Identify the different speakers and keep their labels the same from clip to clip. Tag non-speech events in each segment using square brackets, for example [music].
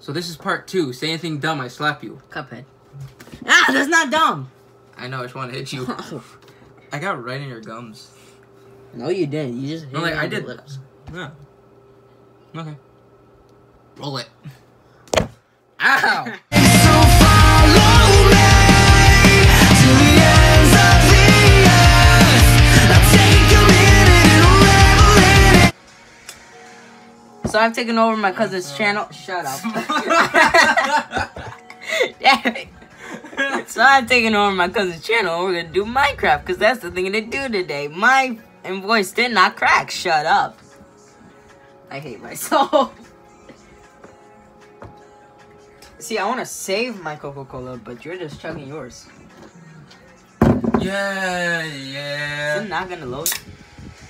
Speaker 1: So this is part two. Say anything dumb, I slap you.
Speaker 2: Cuphead. Ah, that's not dumb. [laughs]
Speaker 1: I know I just want to hit you. I got right in your gums.
Speaker 2: no, you didn't. You just hit
Speaker 1: No, like
Speaker 2: me
Speaker 1: I
Speaker 2: on the
Speaker 1: did.
Speaker 2: lips.
Speaker 1: Yeah. Okay. Roll it.
Speaker 2: Ow! [laughs] So I've taken over my cousin's channel. Shut
Speaker 1: [laughs]
Speaker 2: up. [laughs] Damn it. So I've taken over my cousin's channel. and We're gonna do Minecraft because that's the thing to do today. My voice did not crack. Shut up. I hate myself. [laughs] See, I want to save my Coca Cola, but you're just chugging yours.
Speaker 1: yeah,
Speaker 2: I'm
Speaker 1: yeah,
Speaker 2: not gonna load.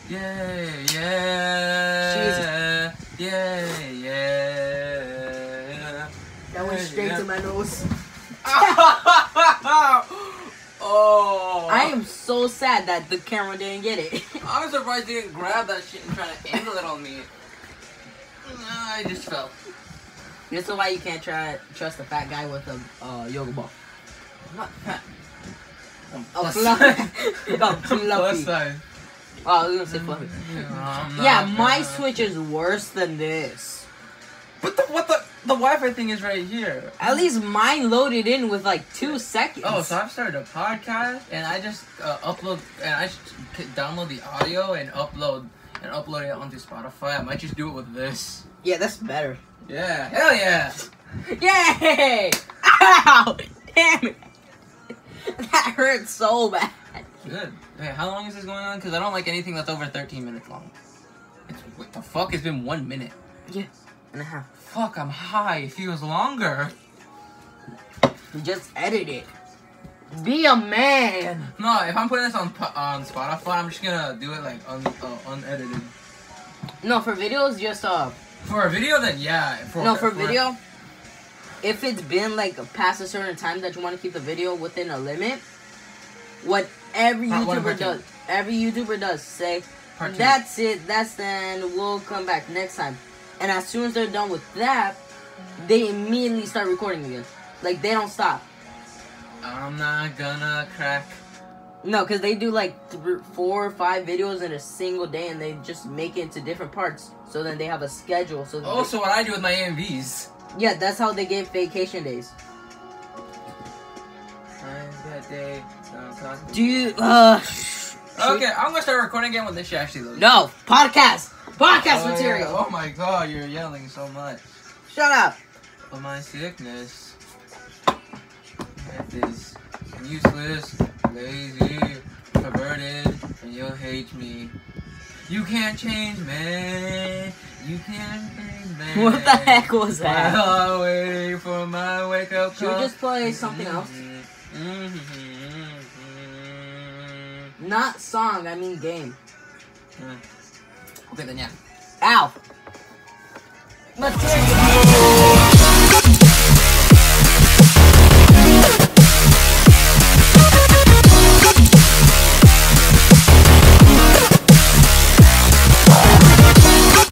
Speaker 1: yeah, yeah, yeah, yeah.
Speaker 3: That went straight to my nose.
Speaker 1: oh,
Speaker 2: I am so sad that the camera didn't get it. [laughs]
Speaker 1: I'm surprised you didn't grab that shit and try to angle it on me. Nah, I just fell.
Speaker 2: this is why you can't try trust a fat guy with a uh, yoga ball.
Speaker 1: I'm not fat. I'm
Speaker 2: Oh,
Speaker 1: plus
Speaker 2: [laughs] fluffy. No, fluffy.
Speaker 1: Plus size.
Speaker 2: Oh, I was gonna say fluffy.
Speaker 1: I'm not
Speaker 2: Yeah, my
Speaker 1: fat.
Speaker 2: Switch is worse than this.
Speaker 1: What the what the the Wi-Fi thing is right here.
Speaker 2: At least mine loaded in with like two seconds.
Speaker 1: Oh, so I've started a podcast and I just uh, upload and I just c- download the audio and upload and upload it onto Spotify. I might just do it with this.
Speaker 2: yeah, that's better.
Speaker 1: Yeah, hell yeah.
Speaker 2: Yay! [laughs] Ow! Damn it! [laughs] That hurt so bad.
Speaker 1: Good. Hey, how long is this going on? Because I don't like anything that's over 13 minutes long. It's, what the fuck? It's been one minute.
Speaker 2: And a half.
Speaker 1: Fuck, I'm high. It feels longer.
Speaker 2: Just edit it. Be a man.
Speaker 1: No, if I'm putting this on po- on Spotify, I'm just gonna do it like un- uh, unedited.
Speaker 2: No, for videos, just uh.
Speaker 1: For a video, then yeah. For,
Speaker 2: no, for video, if it's been like past a certain time that you want to keep the video within a limit, what every
Speaker 1: Part one, part
Speaker 2: YouTuber
Speaker 1: two.
Speaker 2: does, every YouTuber does say,
Speaker 1: Part two.
Speaker 2: that's it, that's the end, we'll come back next time. And as soon as they're done with that, they immediately start recording again. Like they don't stop.
Speaker 1: I'm not gonna crack.
Speaker 2: No, because they do like three, four or five videos in a single day, and they just make it into different parts. So then they have a schedule. So
Speaker 1: Oh, so what I do with my AMVs.
Speaker 2: yeah, that's how they get vacation days. Do you? Uh,
Speaker 1: Okay, I'm gonna start recording again when this shit actually loads.
Speaker 2: no podcast, podcast
Speaker 1: Oh, yeah.
Speaker 2: material.
Speaker 1: Oh my god, you're yelling so much.
Speaker 2: Shut up.
Speaker 1: But my sickness. It is useless, lazy, perverted, and you'll hate me. You can't change me. You can't change me.
Speaker 2: What the heck was that?
Speaker 1: While I wait for my wake up
Speaker 2: Should we
Speaker 1: call. Mm-hmm.
Speaker 2: just play something else? Not song, I mean game.
Speaker 1: Mm-hmm. Okay, then yeah.
Speaker 2: Ow. Material.